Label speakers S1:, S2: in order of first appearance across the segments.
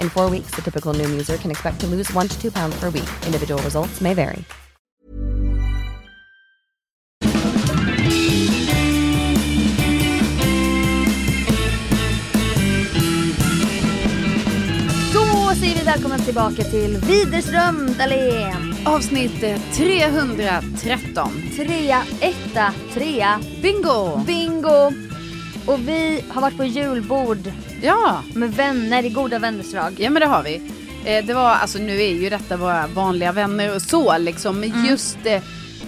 S1: In four weeks, the typical Noom user can expect to lose one to two pounds per week. Individual results may vary.
S2: Då säger vi välkomna tillbaka till Widerström Dahlén.
S3: Avsnitt 313.
S2: Trea, etta, trea.
S3: Bingo!
S2: Bingo! Och vi har varit på julbord
S3: Ja,
S2: med vänner i goda vännerslag.
S3: ja men det har vi. Eh, Det var, alltså nu är ju detta våra vanliga vänner och så liksom. Men just eh,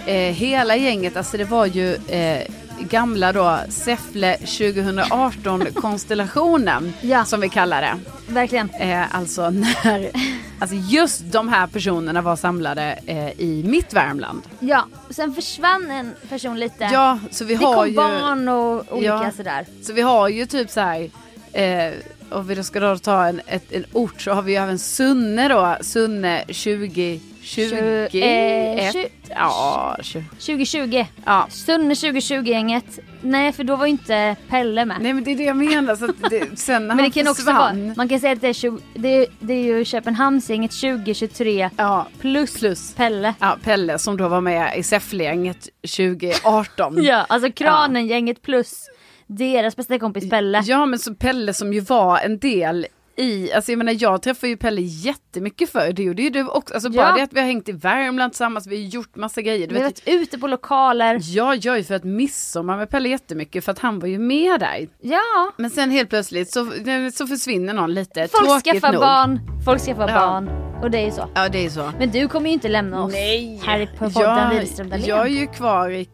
S3: eh, hela gänget, alltså det var ju eh, gamla då Säffle 2018 konstellationen
S2: Ja.
S3: som vi kallar det.
S2: Verkligen.
S3: Eh, alltså när, alltså just de här personerna var samlade eh, i mitt Värmland.
S2: Ja, och sen försvann en person lite.
S3: Ja, så vi
S2: det
S3: har
S2: kom
S3: ju...
S2: barn och olika
S3: Ja.
S2: sådär.
S3: Så vi har ju typ så här, eh, om vi då ska då ta en, ett, en ort så har vi ju även Sunne då, Sunne 2020.
S2: Tju- eh, tju-
S3: ja, tju-
S2: 2020.
S3: ja.
S2: Sunne 2020-gänget. Nej, för då var ju inte Pelle med.
S3: Nej men det är det jag menar, så att det, sen när
S2: Men det
S3: han
S2: kan också vara,
S3: försvann,
S2: man kan säga att det är, tju- det är, det är ju Köpenhamnsgänget 2023
S3: ja, plus, plus.
S2: Pelle.
S3: Ja, Pelle som då var med i Säfflegänget 2018.
S2: Ja, alltså Kranen-gänget plus deras bästa kompis Pelle.
S3: Ja men så Pelle som ju var en del i, alltså jag menar jag träffade ju Pelle jättemycket förr, det gjorde ju du också, alltså
S2: Ja.
S3: bara det att vi har hängt i Värmland tillsammans, vi har gjort massa grejer. Du
S2: Vi har varit ute på lokaler.
S3: Jag gör ju för att midsommar med Pelle jättemycket för att han var ju med där.
S2: Ja,
S3: Men sen helt plötsligt så, så försvinner någon lite,
S2: folk
S3: tråkigt
S2: skaffar
S3: nog.
S2: barn, folk skaffar
S3: Ja.
S2: barn. Och det är ju så.
S3: Ja det är så.
S2: Men du kommer ju inte lämna oss här i på podden Widerström
S3: jag,
S2: Dahlén.
S3: jag är ju kvar i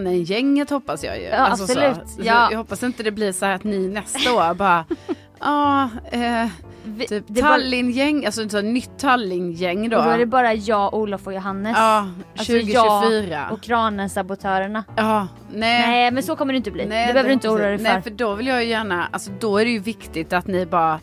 S3: kranen-gänget hoppas jag ju. Alltså
S2: Ja,
S3: så.
S2: absolut.
S3: Så
S2: Ja.
S3: Jag hoppas inte det blir så här att ni nästa år bara, ja, eh,
S2: Vi-
S3: typ
S2: det är bara-
S3: Tallinn-gäng, alltså ett sånt nytt Tallinn-gäng då.
S2: Och då är det bara jag, Olof och Johannes.
S3: Ja,
S2: Alltså
S3: 2024.
S2: jag och Kranen-sabotörerna.
S3: Ja, nej.
S2: Nej men så kommer det inte bli. det behöver du inte
S3: hoppas
S2: oroa
S3: jag-
S2: dig för.
S3: Nej, för då vill jag ju gärna, alltså då är det ju viktigt att ni bara,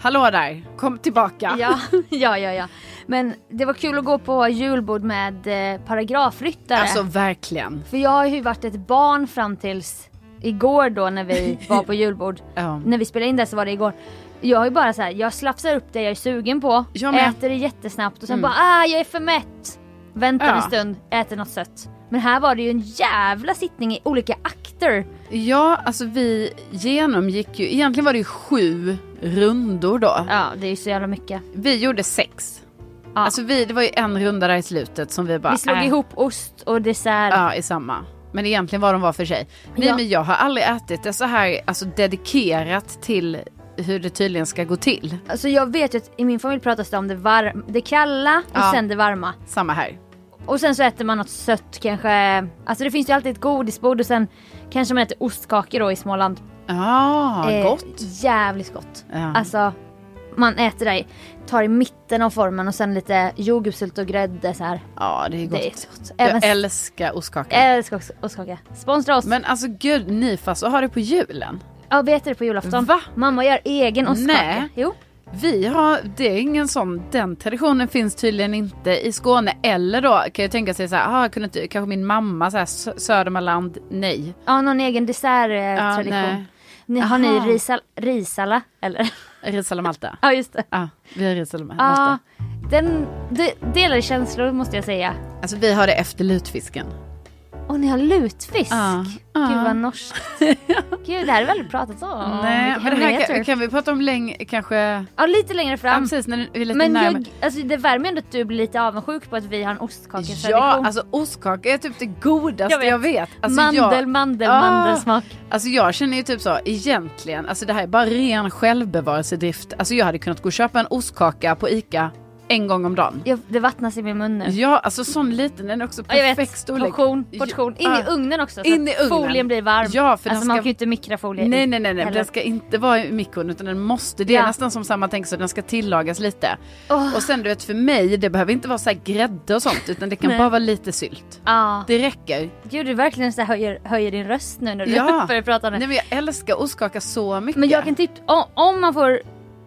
S3: hallå där, kom tillbaka.
S2: Ja, ja, ja, ja. Men det var kul att gå på julbord med eh, paragrafryttare.
S3: Alltså verkligen.
S2: För jag har ju varit ett barn fram tills igår då när vi var på julbord.
S3: Ja.
S2: När vi spelade in det så var det igår. Jag har ju bara så här, jag slafsar upp det jag är sugen på,
S3: Jag med. Mm.
S2: äter det jättesnabbt och sen bara ah jag är för mätt. Väntar
S3: Ja.
S2: en stund, äter något sött. Men här var det ju en jävla sittning i olika akter.
S3: ja, alltså vi genomgick ju, egentligen var det ju sju rundor då.
S2: Ja det är ju så jävla mycket.
S3: Vi gjorde sex.
S2: Ja.
S3: Alltså vi, det var ju en runda där i slutet som vi bara,
S2: vi slog
S3: äh,
S2: ihop ost och dessert.
S3: Ja, i samma. Men egentligen var de var för sig. Nej
S2: Ja.
S3: men jag har aldrig ätit det så här, alltså dedikerat till hur det tydligen ska gå till.
S2: Alltså jag vet ju att i min familj pratas det om det, varm, det kalla och
S3: Ja.
S2: sen det varma.
S3: Samma här.
S2: Och sen så äter man något sött kanske. Alltså det finns ju alltid ett godisbord och sen kanske man äter ostkakor då i Småland.
S3: Ja,
S2: Eh,
S3: gott.
S2: Jävligt gott.
S3: Ja.
S2: Alltså man äter det, i- tar i mitten av formen och sen lite jordgubbssylt och grädde så här.
S3: Ja, det är gott.
S2: Det är så gott. Även
S3: Jag
S2: jag
S3: älskar ostkaka.
S2: älskar också ostkaka. Sponsra oss!
S3: Men alltså gud, Nifas och har det på julen.
S2: Ja vi äter det på julafton.
S3: Va?
S2: Mamma gör egen ostkaka.
S3: Nej.
S2: Jo.
S3: Vi har, det är ingen sån, den traditionen finns tydligen inte i Skåne. Eller då kan jag tänka sig så här, ah, kunde inte, kanske min mamma så här, Sö- Södermanland, nej.
S2: Ja någon egen desserttradition.
S3: nej.
S2: ni, har ni
S3: Aha.
S2: risal, risala eller?
S3: Ris eller Malta?
S2: ja just det.
S3: Ja, vi har ris eller
S2: Ja,
S3: Malta.
S2: den de, delar känslor måste jag säga.
S3: Alltså vi har det efter lutfisken.
S2: Och ni har lutfisk.
S3: Ja.
S2: Gud
S3: Ja.
S2: vad norskt. Gud det här har vi aldrig pratat om.
S3: nej,
S2: Vilka
S3: men det här
S2: hemligheter.
S3: kan, kan vi prata om länge, kanske,
S2: Ja lite längre
S3: ja,
S2: fram.
S3: precis när vi är lite
S2: men
S3: närmare.
S2: jag, alltså, det värmer ändå att du blir lite avundsjuk på att vi har en ostkaketradition.
S3: Ja, alltså ostkaka är typ det godaste
S2: Jag
S3: jag
S2: vet.
S3: vet. Alltså,
S2: mandel,
S3: jag,
S2: mandel,
S3: Ah.
S2: mandelsmak.
S3: alltså jag känner ju typ så, egentligen, alltså det här är bara ren självbevarelsedrift. Alltså jag hade kunnat gå och köpa en ostkaka på ICA en gång om dagen.
S2: Jag, det vattnas i min mun nu.
S3: Ja, alltså sån liten, den är också
S2: Ja, jag
S3: perfekt
S2: vet,
S3: storlek.
S2: portion, portion. In i
S3: Ja. Ah.
S2: ugnen också så
S3: In
S2: att
S3: i ugnen.
S2: folien blir varm.
S3: Ja, för den
S2: alltså man
S3: ska-
S2: kan ju inte mikrofolier i.
S3: Nej, nej, nej, nej.
S2: Eller-
S3: den ska inte vara i mikron utan den måste, det är
S2: Ja.
S3: nästan som samma tänk så den ska tillagas lite.
S2: Åh.
S3: Och sen du vet för mig, det behöver inte vara så här grädde och sånt utan det kan
S2: Nej.
S3: bara vara lite sylt.
S2: Ja.
S3: Det räcker.
S2: Ah. Gud du verkligen så här höjer, höjer din röst nu när du
S3: Ja.
S2: börjar prata om det.
S3: Nej men jag älskar ostkaka så mycket.
S2: Men jag kan tips om, om man får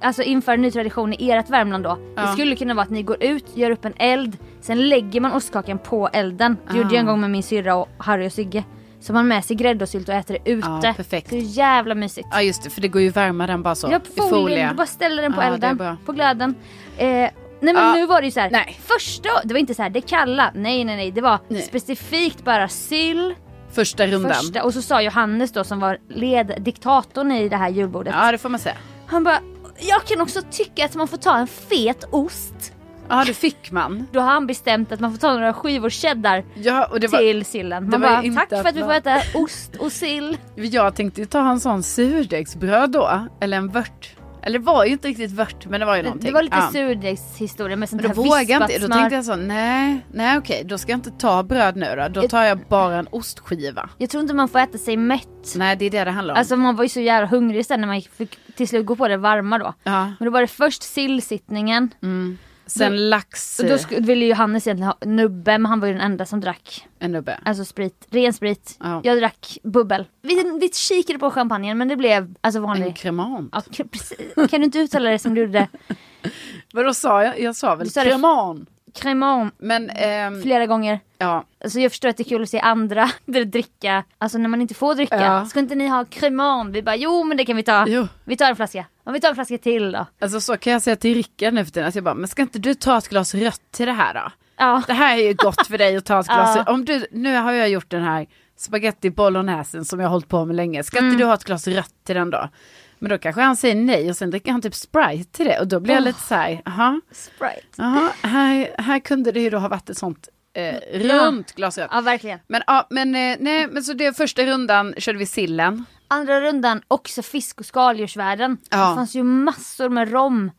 S2: alltså, införa en ny tradition i ert Värmland då. Det
S3: Ja.
S2: skulle kunna vara att ni går ut, gör upp en eld, sen lägger man ostkakan på elden. Det gjorde jag
S3: Ah.
S2: en gång med min syrra och Harry och Sigge. Så man har med sig grädde och sylt och äter det ute.
S3: Ja, perfekt.
S2: Så jävla mysigt.
S3: Ja just det, för det går ju att värma den bara så.
S2: Jag
S3: I
S2: folien, du bara ställer den på
S3: Ja, det är
S2: elden,
S3: bra.
S2: på glöden. Eh, nej men
S3: Ja.
S2: nu var det ju så här.
S3: Nej.
S2: första, det var inte så här det kalla, nej nej nej, det var
S3: Nej.
S2: specifikt bara sill,
S3: Första rundan.
S2: första och så sa Johannes då som var led, diktatorn i det här julbordet.
S3: Ja det får man säga.
S2: Han bara, jag kan också tycka att man får ta en fet ost.
S3: Ja det fick man.
S2: Då har han bestämt att man får ta några skivor cheddar
S3: Ja, och det var,
S2: till sillen.
S3: det
S2: Man
S3: var ju
S2: bara,
S3: inte
S2: tack för
S3: att
S2: att vi får
S3: man-
S2: äta ost och sill.
S3: Jag tänkte ju ta en sån surdegsbröd då, eller en vört. Eller det var ju inte riktigt vört men det var ju någonting.
S2: Det var lite
S3: Ja.
S2: surdegshistoria med sånt
S3: Men då
S2: här
S3: vågade jag
S2: vispat
S3: inte, då
S2: smör.
S3: tänkte jag så, nej, nej okej, då ska jag inte ta bröd nu då. Då tar jag bara en ostskiva.
S2: Jag tror inte man får äta sig mätt.
S3: Nej det är det det handlar om.
S2: Alltså man var ju så jävla hungrig sen när man fick till slut gå på det varma då.
S3: ja.
S2: Men då var det först sillsittningen.
S3: Sen
S2: då-
S3: lax, eh,
S2: Så då sk- ville ju Hannes egentligen ha nubbe men han var ju den enda som drack
S3: en nubbe.
S2: Alltså sprit, ren sprit.
S3: Ja.
S2: Jag drack bubbel. Vi, vi kikade på champagnen men det Alltså- blev alltså
S3: En
S2: vanlig.
S3: cremant.
S2: Ja, k- precis. Kan du inte uttala det som du gjorde?
S3: Vadå sa jag? Jag sa väl
S2: Du sa det-
S3: cremant.
S2: Cremant
S3: Men, ehm,
S2: flera gånger.
S3: ja.
S2: Alltså jag förstår att det är kul att se andra dricka, alltså när man inte får dricka.
S3: Ja.
S2: Ska inte ni ha cremant? Vi bara jo men det kan vi ta.
S3: Jo.
S2: Vi tar en flaska. Om vi tar en flaska till då.
S3: Alltså så kan jag säga till Rickard nu för tiden, att jag bara, men ska inte du ta ett glas rött till det här då?
S2: Ja.
S3: Det här är ju gott för dig att ta ett glas
S2: Ja.
S3: rött. Om du, nu har jag gjort den här spaghetti bolognesen som jag har hållit på med länge, ska
S2: Mm.
S3: inte du ha ett glas rött till den då? Men då kanske han säger nej och sen dricker han typ Sprite till det och då blir jag lite så här, aha,
S2: Sprite.
S3: aha här, här kunde det ju då ha varit ett sånt eh, runt glas rött.
S2: Ja verkligen.
S3: Men, ja, men, eh, nej, men så det första rundan körde vi sillen.
S2: Andra rundan också fisk och skaldjursvärlden.
S3: Ja.
S2: Det fanns ju massor med rom.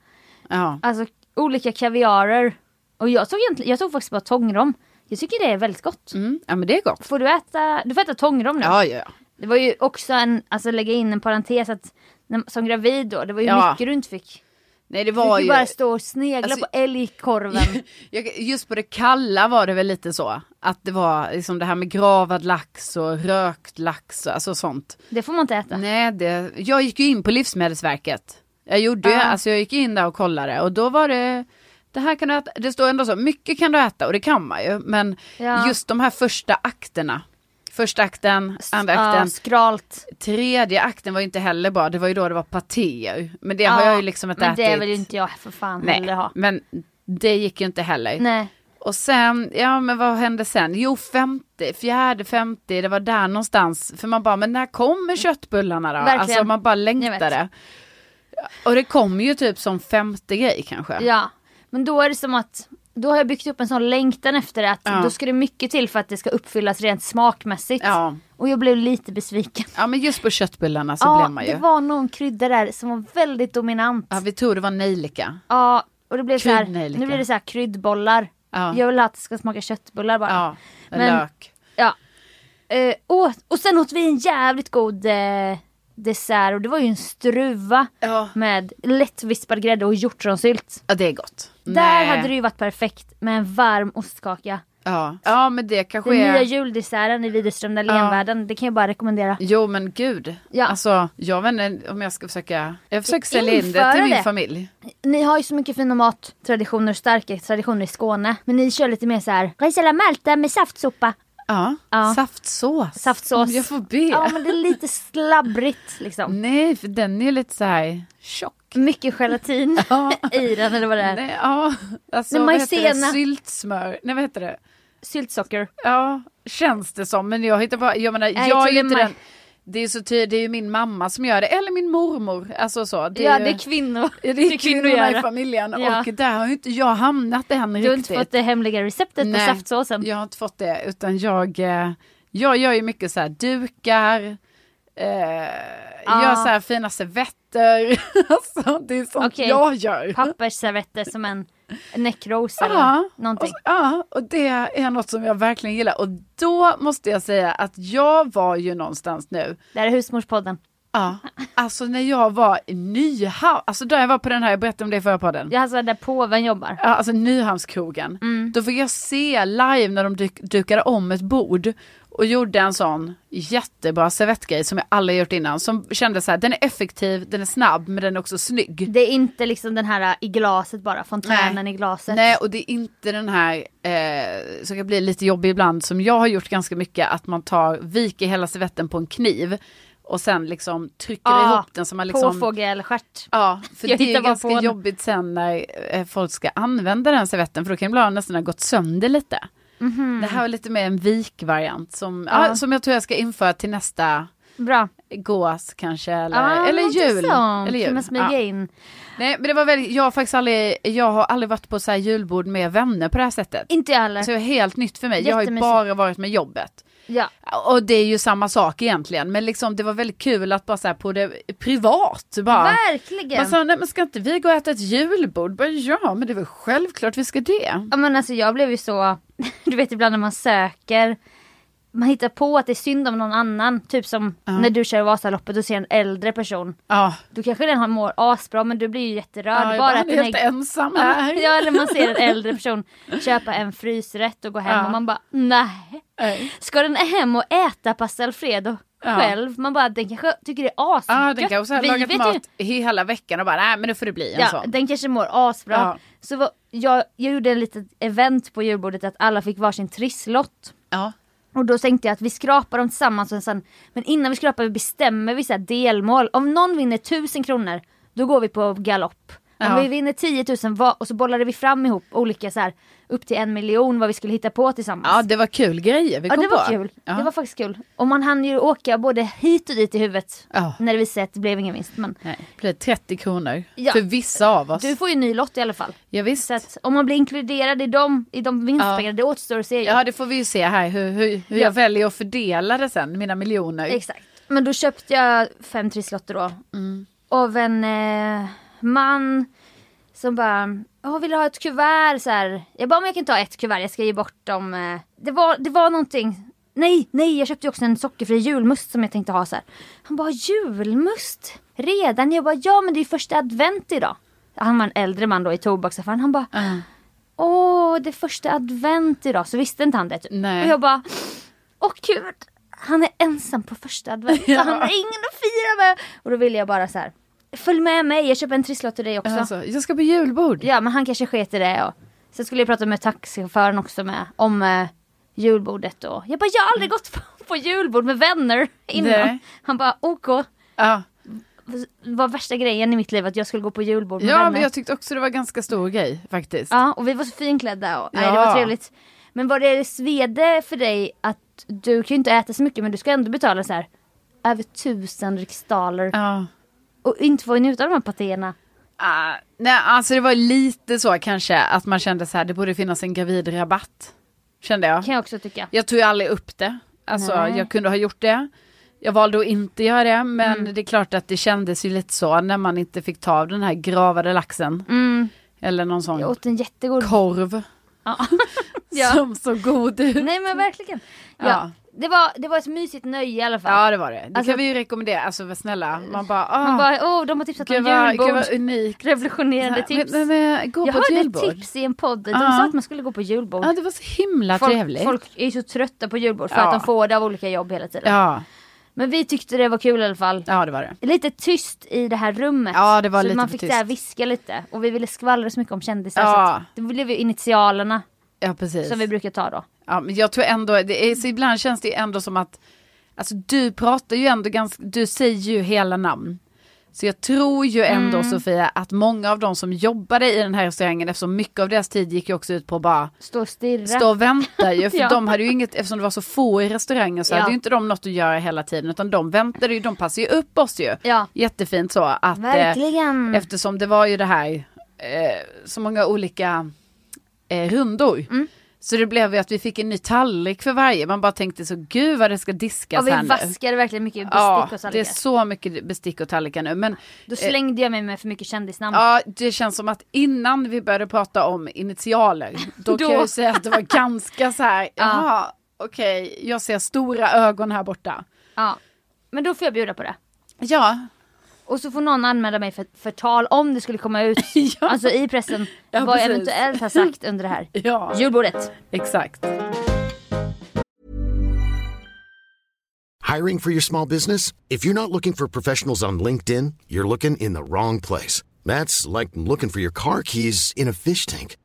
S3: Ja.
S2: Alltså olika kaviarer. Och jag tog, egentligen, jag tog faktiskt bara tångrom. Jag tycker det är väldigt gott.
S3: Mm, ja men det är gott.
S2: Får du äta, du får äta tångrom nu.
S3: Ja, ja, ja.
S2: Det var ju också en, alltså lägga in en parentes att när, som gravid då, det var ju
S3: Ja.
S2: mycket du inte fick.
S3: Nej det
S2: Du
S3: var
S2: fick ju
S3: ju...
S2: bara stå och snegla
S3: Alltså-
S2: på älgkorven.
S3: Jag, just på det kalla var det väl lite så. Att det var liksom det här med gravad lax och rökt lax och alltså sånt.
S2: det får man inte äta.
S3: Nej, det, jag gick ju in på Livsmedelsverket. Jag gjorde ju,
S2: Ja.
S3: alltså jag gick in där och kollade och då var det, det här kan du äta, det står ändå så, mycket kan du äta och det kan man ju. Men
S2: Ja.
S3: just de här första akterna. Första akten, andra
S2: Ja,
S3: akten,
S2: skralt.
S3: tredje akten var ju inte heller bra, det var ju då det var patéer. Men det har
S2: Ja,
S3: jag ju liksom inte
S2: Men
S3: ätit.
S2: det vill ju inte jag för fan heller
S3: Nej,
S2: ha.
S3: men det gick ju inte heller.
S2: Nej.
S3: Och sen, ja men vad hände sen? Jo, 50, fjärde 50, det var där någonstans. För man bara, men när kommer köttbullarna då?
S2: Verkligen.
S3: Alltså man bara
S2: Jag
S3: längtade.
S2: vet.
S3: Och det kom ju typ som femte grej kanske.
S2: Ja, men då är det som att då har jag byggt upp en sån längtan efter det att
S3: Ja.
S2: då ska det mycket till för att det ska uppfyllas rent smakmässigt.
S3: Ja.
S2: Och jag blev lite besviken.
S3: Ja men just på köttbullarna så blev man ju.
S2: det var någon krydda där som var väldigt dominant.
S3: Ja, vi tror det var nejlika.
S2: Ja, och det blev så här,
S3: Kryddnejlika.
S2: nu blir det så här kryddbollar.
S3: Ja.
S2: Jag vill att det ska smaka köttbullar bara.
S3: Ja, med
S2: Men-
S3: lök.
S2: Ja. Eh, och, och sen åt vi en jävligt god eh, dessert och det var ju en struva
S3: Ja.
S2: med lättvispad grädde och hjortronsylt.
S3: Ja, det är gott.
S2: Där
S3: Nej.
S2: hade det ju varit perfekt med en varm ostkaka.
S3: Ja, ja men det kanske
S2: Den
S3: är...
S2: nya juldesserten i Widerström Dahlén-världen, det kan jag bara rekommendera.
S3: Jo men gud.
S2: Ja.
S3: Alltså jag vet inte om jag ska försöka. Jag försöker sälja in det
S2: Införa
S3: till min
S2: det.
S3: familj.
S2: Ni har ju så mycket fina mattraditioner och starka traditioner i Skåne. Men ni kör lite mer så här, ris à la malta med saftsoppa.
S3: Ja.
S2: Ja.
S3: Saftsås.
S2: Saftsås.
S3: Om jag får be.
S2: Ja men det är lite slabbrigt liksom.
S3: Nej för den är ju lite så här tjock.
S2: Mycket gelatin
S3: Ja.
S2: i den eller vad det är.
S3: Nej, ja. Alltså
S2: Men
S3: vad heter
S2: maizena.
S3: det? Syltsmör. Nej vad heter det?
S2: Syltsocker.
S3: Ja, känns det som. Men jag hittar på, jag menar,
S2: Nej,
S3: jag är
S2: till
S3: ju inte
S2: mig.
S3: den. Det är, så ty- det är ju min mamma som gör det, eller min mormor. Alltså så. Det
S2: ja
S3: ju-
S2: det är kvinnor.
S3: Ja, Det är kvinnorna i familjen
S2: Ja.
S3: och där har ju inte jag hamnat än
S2: Du har
S3: riktigt.
S2: inte fått det hemliga receptet på
S3: Nej,
S2: saftsåsen.
S3: Jag har inte fått det utan jag, eh, jag gör ju mycket så här dukar, eh, gör så här fina servetter. alltså, det är sånt
S2: Okej.
S3: jag gör.
S2: Pappersservetter som en näckros
S3: Ja,
S2: eller någonting.
S3: Och, ja, och det är något som jag verkligen gillar. Och då måste jag säga att jag var ju någonstans nu
S2: Det här är husmorspodden.
S3: Ja, alltså när jag var i Nyhamn, alltså där jag var på den här, jag berättade om det i förra podden. Ja.
S2: Jag alltså där påven jobbar.
S3: Alltså Nyhamnskrogen.
S2: Mm.
S3: Då fick jag se live när de duk- dukade om ett bord och gjorde en sån jättebra servettgrej som jag aldrig gjort innan. Som kändes så här, den är effektiv, den är snabb men den är också snygg.
S2: Det är inte liksom den här i glaset bara, fontänen i glaset.
S3: Nej, och det är inte den här eh, som kan bli lite jobbig ibland som jag har gjort ganska mycket att man tar, viker hela servetten på en kniv och sen liksom trycker
S2: Ja,
S3: ihop den så man liksom
S2: Påfågelstjärt.
S3: Ja, för
S2: Jag
S3: det är
S2: hittar bara
S3: ganska
S2: på den.
S3: jobbigt sen när eh, folk ska använda den servetten för då kan det ibland nästan ha gått sönder lite.
S2: Mhm.
S3: Det här är lite mer en vikvariant som, ja. som jag tror jag ska införa till nästa
S2: Bra.
S3: gås kanske eller,
S2: Ja,
S3: eller
S2: något
S3: jul.
S2: Sånt.
S3: Eller
S2: Kan man
S3: jul.
S2: smyga
S3: Ja.
S2: in.
S3: Nej, men det var väldigt, jag, har faktiskt aldrig, jag har aldrig varit på så här julbord med vänner på det här sättet.
S2: Inte jag heller.
S3: Så det är helt nytt för mig. Jag har ju
S2: Jättemysigt.
S3: bara varit med jobbet.
S2: Ja.
S3: Och det är ju samma sak egentligen. Men liksom, det var väldigt kul att bara så här på det privat. Bara.
S2: Verkligen.
S3: Man sa, nej men ska inte vi gå och äta ett julbord? Bara, ja, men det är väl självklart vi ska det.
S2: Ja men alltså jag blev ju så, du vet ibland när man söker, man hittar på att det är synd om någon annan. Typ som när du kör Vasaloppet och ser en äldre person.
S3: Ja,
S2: Du kanske den har mår asbra men du blir ju jätterörd.
S3: ja jag bara,
S2: bara
S3: han
S2: att
S3: är
S2: den
S3: helt
S2: är...
S3: ensam här.
S2: Ja eller man ser en äldre person köpa en frysrätt och gå hem
S3: Ja.
S2: och man bara nej.
S3: Nej.
S2: Ska den hem och äta pasta alfredo
S3: Ja.
S2: själv? Man bara den kanske tycker det är asgött.
S3: Ja, den kanske har
S2: Vi
S3: lagat
S2: vet ju-
S3: mat hela veckan och bara, nej men nu får det bli en
S2: Ja,
S3: sån.
S2: den kanske mår asbra.
S3: Ja.
S2: Så vad, jag, jag gjorde en litet event på julbordet att alla fick varsin trisslott.
S3: Ja.
S2: Och då tänkte jag att vi skrapar dem tillsammans och sen, men innan vi skrapar vi bestämmer vi så här delmål. Om någon vinner 1000 kronor, då går vi på galopp. Om
S3: Ja.
S2: vi vinner 10 000 va- och så bollade vi fram ihop olika så här upp till en miljon vad vi skulle hitta på tillsammans.
S3: ja, det var kul grejer vi
S2: Ja,
S3: kom
S2: det var
S3: på.
S2: kul.
S3: Ja.
S2: Det var faktiskt kul. Och man hann ju åka både hit och dit i huvudet
S3: Ja.
S2: när det visade sig att det blev ingen vinst. Men
S3: Nej, det blev 30 kronor
S2: Ja.
S3: för vissa av oss.
S2: du får ju en ny lott i alla fall.
S3: Ja, visst.
S2: Så att om man blir inkluderad i de, i de vinstpengarna, det återstår att se. ju.
S3: Ja, det får vi ju se här hur, hur, hur
S2: Ja.
S3: jag väljer att fördela det sen, mina miljoner.
S2: Exakt. Men då köpte jag fem trisslotter då. Av en eh, man som bara, jag vill du ha ett kuvert så här. Jag bara, men jag kan ta ett kuvert, jag ska ge bort dem. eh." Det var, det var någonting. Nej, nej, jag köpte ju också en sockerfri julmust som jag tänkte ha så här. Han bara, julmust? Redan? Jag bara, ja men det är ju första advent idag. Han var en äldre man då i tobaksaffären. Han bara, åh det är första advent idag. Så visste inte han det typ.
S3: Nej.
S2: Och jag bara, åh gud. Han är ensam på första advent. Han har ingen att fira med. Och då ville jag bara så här. Följ med mig, jag köper en trisslott till dig också.
S3: Alltså, jag ska på julbord.
S2: Ja men han kanske sket i det. Och... Sen skulle jag prata med taxichauffören också med, om eh, julbordet. Och... Jag bara, jag har aldrig gått på, på julbord med vänner innan.
S3: Mm. Nej.
S2: Han bara, OK.
S3: Ja,
S2: Det var värsta grejen i mitt liv att jag skulle gå på julbord med
S3: ja
S2: vänner.
S3: men jag tyckte också det var ganska stor grej faktiskt.
S2: Ja, och vi var så finklädda och nej, det
S3: Ja.
S2: var trevligt. Men var det svede för dig att du kan ju inte äta så mycket men du ska ändå betala så här över tusen riksdaler
S3: Ja.
S2: och inte få njuta av de här patéerna?
S3: Ah, nej, alltså det var lite så kanske att man kände så här, det borde finnas en gravidrabatt. Kände jag.
S2: Kan jag också tycka.
S3: Jag tog ju aldrig upp det. Alltså
S2: Nej.
S3: jag kunde ha gjort det. Jag valde att inte göra det, men
S2: Mm.
S3: det är klart att det kändes ju lite så när man inte fick ta av den här gravade laxen.
S2: Mm.
S3: Eller någon sån
S2: Jag åt en jättegod
S3: korv
S2: Ja. ja.
S3: som såg god ut.
S2: Nej men verkligen. Ja.
S3: Ja.
S2: Det, var, det var ett mysigt nöje i alla fall.
S3: Ja det var det. Det
S2: Alltså-
S3: kan vi ju rekommendera. Alltså vad snälla, man bara, ah,
S2: Man bara, åh de har tipsat om
S3: gud, vad, gud
S2: julbord.
S3: vad unikt.
S2: Revolutionerande
S3: Men-
S2: tips.
S3: men, men, gå
S2: Jag
S3: på ett
S2: hörde
S3: julbord.
S2: tips i en podd. De
S3: Ja.
S2: sa att man skulle gå på julbord.
S3: Ja det var så himla
S2: folk,
S3: trevligt.
S2: folk är ju så trötta på julbord för
S3: Ja.
S2: att de får det av olika jobb hela tiden.
S3: Ja,
S2: Men vi tyckte det var kul i alla fall.
S3: ja det var det.
S2: Lite tyst i det här rummet.
S3: Ja, det var
S2: så
S3: lite
S2: man
S3: för
S2: fick
S3: tyst.
S2: så här viska lite. Och vi ville skvallra så mycket om kändisar.
S3: Ja.
S2: Så att det blev ju initialerna
S3: Ja precis.
S2: som vi brukar ta då.
S3: Ja, men jag tror ändå, det är, så ibland känns det ju ändå som att, alltså du pratar ju ändå ganska, du säger ju hela namn. Så jag tror ju ändå
S2: Mm.
S3: Sofia att många av de som jobbade i den här restaurangen, eftersom mycket av deras tid gick ju också ut på att bara
S2: Stå och stirra.
S3: stå och vänta ju, för
S2: Ja.
S3: de hade ju inget, eftersom det var så få i restaurangen så
S2: Ja.
S3: hade ju inte de något att göra hela tiden, utan de väntade ju, de passade ju upp oss ju.
S2: Ja.
S3: Jättefint så att, eh,
S2: Verkligen.
S3: eftersom det var ju det här, eh, så många olika eh, rundor.
S2: Mm.
S3: Så det blev ju att vi fick en ny tallrik för varje. Man bara tänkte så gud vad det ska
S2: och
S3: diskas
S2: vi
S3: här nu.
S2: vaskade verkligen mycket bestick
S3: Ja,
S2: och Mm.
S3: det är
S2: sallrikar.
S3: så mycket bestick och tallrikar nu. Men
S2: Då slängde jag mig med för mycket kändisnamn.
S3: ja, det känns som att innan vi började prata om initialer, då,
S2: Då.
S3: kan jag ju säga att det var ganska så här, jaha, okej, jag ser stora ögon här borta.
S2: Ja. Men då får jag bjuda på det.
S3: Ja,
S2: Och så får någon anmäla mig för förtal om det skulle komma ut
S3: Ja.
S2: alltså i pressen
S3: Ja,
S2: vad jag
S3: precis.
S2: eventuellt har sagt under det här
S3: ja,
S2: julbordet.
S3: exakt.
S4: Hiring for your small business? If you're not looking for professionals on LinkedIn, you're looking in the wrong place. That's like looking for your car keys in a fish tank.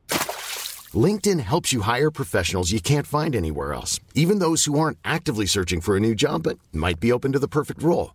S4: LinkedIn helps you hire professionals you can't find anywhere else, even those who aren't actively searching for a new job but might be open to the perfect role.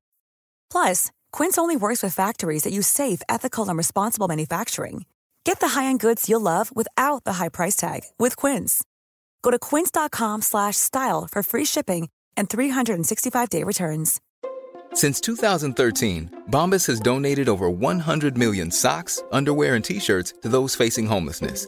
S5: Plus, Quince only works with factories that use safe, ethical, and responsible manufacturing. Get the high-end goods you'll love without the high price tag with Quince. Go to quince.com/style slash style for free shipping and 365-day returns.
S6: Since 2013, Bombas has donated over 100 million socks, underwear, and t shirts to those facing homelessness.